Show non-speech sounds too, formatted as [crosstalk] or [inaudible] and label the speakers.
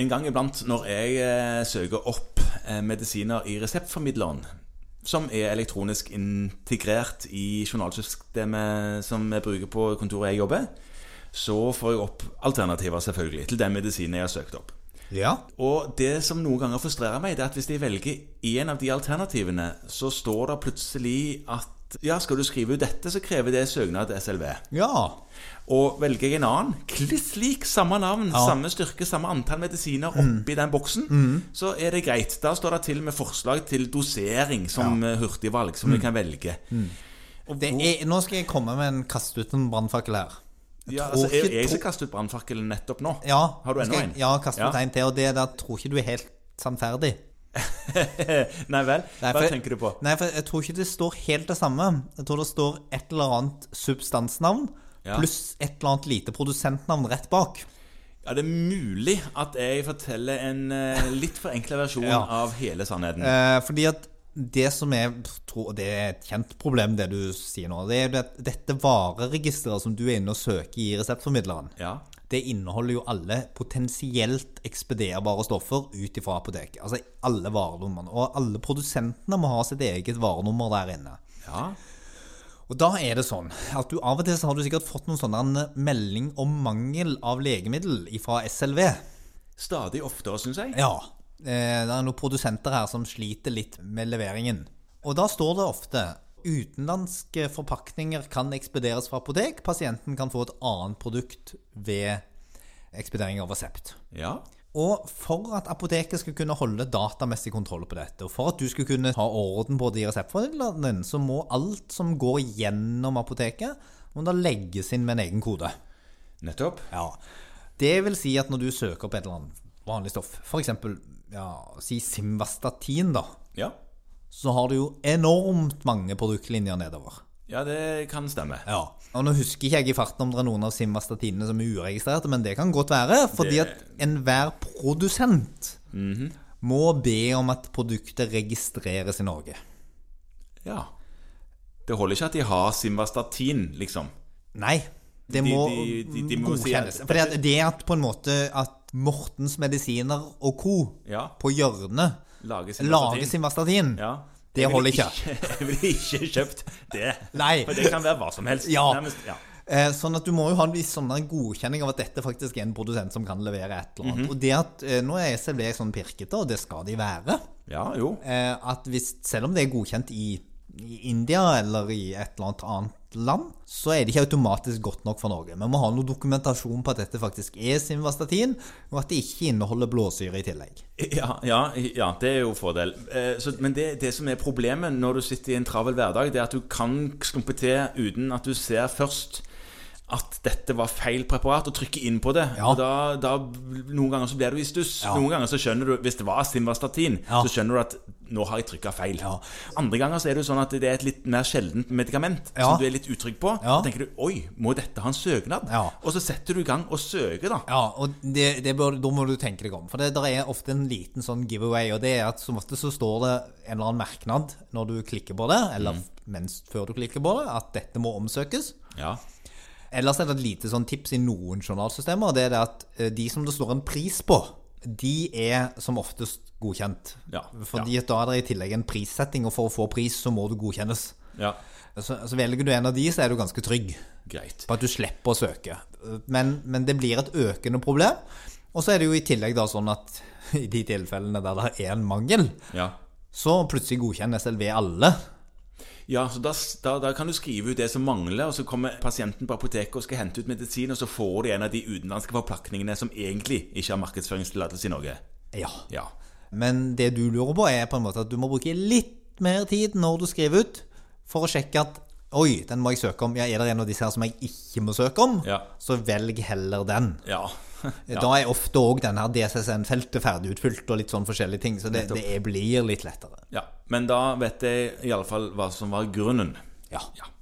Speaker 1: en gang iblant når jeg eh, søker opp eh, medisiner i reseptformidleren, som er elektronisk integrert i journalsystemet som vi bruker på kontoret jeg jobber, så får jeg opp alternativer selvfølgelig til den medisinen jeg har søkt opp.
Speaker 2: Ja.
Speaker 1: Og det som noen ganger frustrerer meg, det er at hvis de velger en av de alternativene, så står det plutselig at ja, skal du skrive ut dette, så krever det søknad SLV.
Speaker 2: Ja.
Speaker 1: Og velger jeg en annen, kliss lik, samme navn, samme styrke, samme antall medisiner
Speaker 2: Mm.
Speaker 1: oppi den boksen, så er det greit. Da står det til med forslag til dosering som eh, hurtigvalg, som
Speaker 2: Mm.
Speaker 1: vi kan velge. Og
Speaker 2: Det
Speaker 1: hvor-
Speaker 2: er, nå skal jeg komme med en kast ut en brannfakkel her.
Speaker 1: ja,
Speaker 2: tror
Speaker 1: altså, er
Speaker 2: ikke
Speaker 1: er jeg
Speaker 2: to-
Speaker 1: som kastet ut brannfakkelen nettopp nå?
Speaker 2: Ja,
Speaker 1: Har du
Speaker 2: nå skal jeg-
Speaker 1: enda en?
Speaker 2: Ja, kaste ut en til. Og det der tror ikke du er helt sannferdig.
Speaker 1: Nei vel,
Speaker 2: Nei,
Speaker 1: hva
Speaker 2: for-
Speaker 1: tenker du på?
Speaker 2: Nei, for jeg tror ikke det står helt det samme. Jeg tror det står et eller annet substansnavn
Speaker 1: Ja.
Speaker 2: pluss et eller annet lite produsentnavn rett bak.
Speaker 1: Ja, det er mulig at jeg forteller en eh, litt forenkla
Speaker 2: [laughs]
Speaker 1: versjon
Speaker 2: Ja.
Speaker 1: av hele sannheten.
Speaker 2: Eh, fordi at det som er tror, og Det er et kjent problem, det du sier nå. Det er jo det at dette vareregisteret som du er inne og søker i reseptformidleren,
Speaker 1: Ja.
Speaker 2: det inneholder jo alle potensielt ekspederbare stoffer ut ifra apoteket. Altså alle varenumrene. Og alle produsentene må ha sitt eget varenummer der inne.
Speaker 1: ja.
Speaker 2: Og da er det sånn at du av og til så har du sikkert fått noen sånne eh, melding om mangel av legemiddel fra SLV.
Speaker 1: Stadig oftere, syns jeg.
Speaker 2: Ja. eh, Det er noen produsenter her som sliter litt med leveringen. Og da står det ofte utenlandske forpakninger kan ekspederes fra apotek. Pasienten kan få et annet produkt ved ekspedering av resept.
Speaker 1: Ja.
Speaker 2: Og for at apoteket skal kunne holde datamessig kontroll på dette, og for at du skal kunne ha orden på det i reseptfordelingen din, så må alt som går gjennom apoteket, må da legges inn med en egen kode.
Speaker 1: Nettopp.
Speaker 2: Ja. Det vil si at når du søker opp et eller annet vanlig stoff, f.eks. Ja, si Simvastatin, da,
Speaker 1: Ja.
Speaker 2: så har du jo enormt mange produktlinjer nedover.
Speaker 1: Ja, det kan stemme.
Speaker 2: Ja. Og nå husker ikke jeg i farten om det er noen av Simvastatinene som er uregistrerte, men det kan godt være, fordi
Speaker 1: Det- Mhm.
Speaker 2: at enhver produsent må be om at produktet registreres i Norge.
Speaker 1: Ja. Det holder ikke at de har simvastatin, liksom.
Speaker 2: Nei, det
Speaker 1: De-
Speaker 2: må
Speaker 1: de- de- de må si at-
Speaker 2: godkjennes. Fordi at det at på en måte at Mortens Medisiner og co.
Speaker 1: Ja.
Speaker 2: på hjørnet
Speaker 1: Lage simvastatin.
Speaker 2: lager Simvastatin,
Speaker 1: Ja.
Speaker 2: det
Speaker 1: Jeg ville
Speaker 2: holder ikke.
Speaker 1: Jeg ville ikke [laughs] kjøpt det.
Speaker 2: Nei.
Speaker 1: For det kan være hva som helst.
Speaker 2: Ja.
Speaker 1: Nærmest, ja.
Speaker 2: Eh, Sånn at du må jo ha en viss sånn der godkjenning av at dette faktisk er en produsent som kan levere et eller annet.
Speaker 1: Mhm.
Speaker 2: Og det at eh, nå er SLV sånn pirkete, og det skal de være,
Speaker 1: ja, jo.
Speaker 2: eh, at hvis, selv om det er godkjent i, i India eller i et eller annet annet land, så er det ikke automatisk godt nok for Norge. Vi må ha noe dokumentasjon på at dette faktisk er simvastatin, og at det ikke inneholder blåsyre i tillegg.
Speaker 1: Ja, ja, ja, det er jo fordel. Eh, så, men det, det som er problemet når du sitter i en travel hverdag, det er at du kan skumpe til uten at du ser først at dette var feil preparat, og trykker inn på det.
Speaker 2: Ja.
Speaker 1: Og da, da, noen ganger så blir du i stuss.
Speaker 2: Ja.
Speaker 1: Noen ganger så skjønner du, hvis det var simvastatin,
Speaker 2: Ja.
Speaker 1: så skjønner du at nå har jeg trykka feil.
Speaker 2: Ja.
Speaker 1: Andre ganger så er det jo sånn at det er et litt mer sjeldent medikament
Speaker 2: Ja.
Speaker 1: som du er litt utrygg på.
Speaker 2: Ja.
Speaker 1: Så tenker du oi, må dette ha en søknad?
Speaker 2: Ja.
Speaker 1: Og så setter du i gang og søker, da.
Speaker 2: Ja, og det, det bør, da må du tenke deg om. For det der er ofte en liten sånn giveaway, og det er at som ofte så står det en eller annen merknad når du klikker på det, eller mens før du klikker på det, at dette må omsøkes.
Speaker 1: Ja.
Speaker 2: Ellers er det et lite sånn tips i noen journalsystemer, og det er det at eh, de som det står en pris på, de er som oftest godkjent.
Speaker 1: Ja,
Speaker 2: Fordi at da er det i tillegg en prissetting, og for å få pris så må du godkjennes.
Speaker 1: ja.
Speaker 2: Så, så velger du en av de, så er du ganske trygg
Speaker 1: Greit.
Speaker 2: på at du slipper å søke. Men, men det blir et økende problem. Og så er det jo i tillegg da sånn at [laughs] i de tilfellene der det er en mangel,
Speaker 1: Ja.
Speaker 2: så plutselig godkjenner SLV alle.
Speaker 1: Ja, så da, da, da kan du skrive ut det som mangler, og så kommer pasienten på apoteket og skal hente ut medisin, og så får de en av de utenlandske forplakningene som egentlig ikke har markedsføringstillatelse i Norge.
Speaker 2: Ja.
Speaker 1: Ja.
Speaker 2: Men det du lurer på, er på en måte at du må bruke litt mer tid når du skriver ut, for å sjekke at Oi, den må jeg søke om. Ja, er det en av disse her som jeg ikke må søke om?
Speaker 1: Ja.
Speaker 2: Så velg heller den.
Speaker 1: Ja.
Speaker 2: Da er ofte òg denne her DSSN-feltet ferdig utfylt og litt sånn forskjellige ting, så det, det blir litt lettere.
Speaker 1: ja. Men da vet jeg iallfall hva som var grunnen.
Speaker 2: Ja.
Speaker 1: Ja.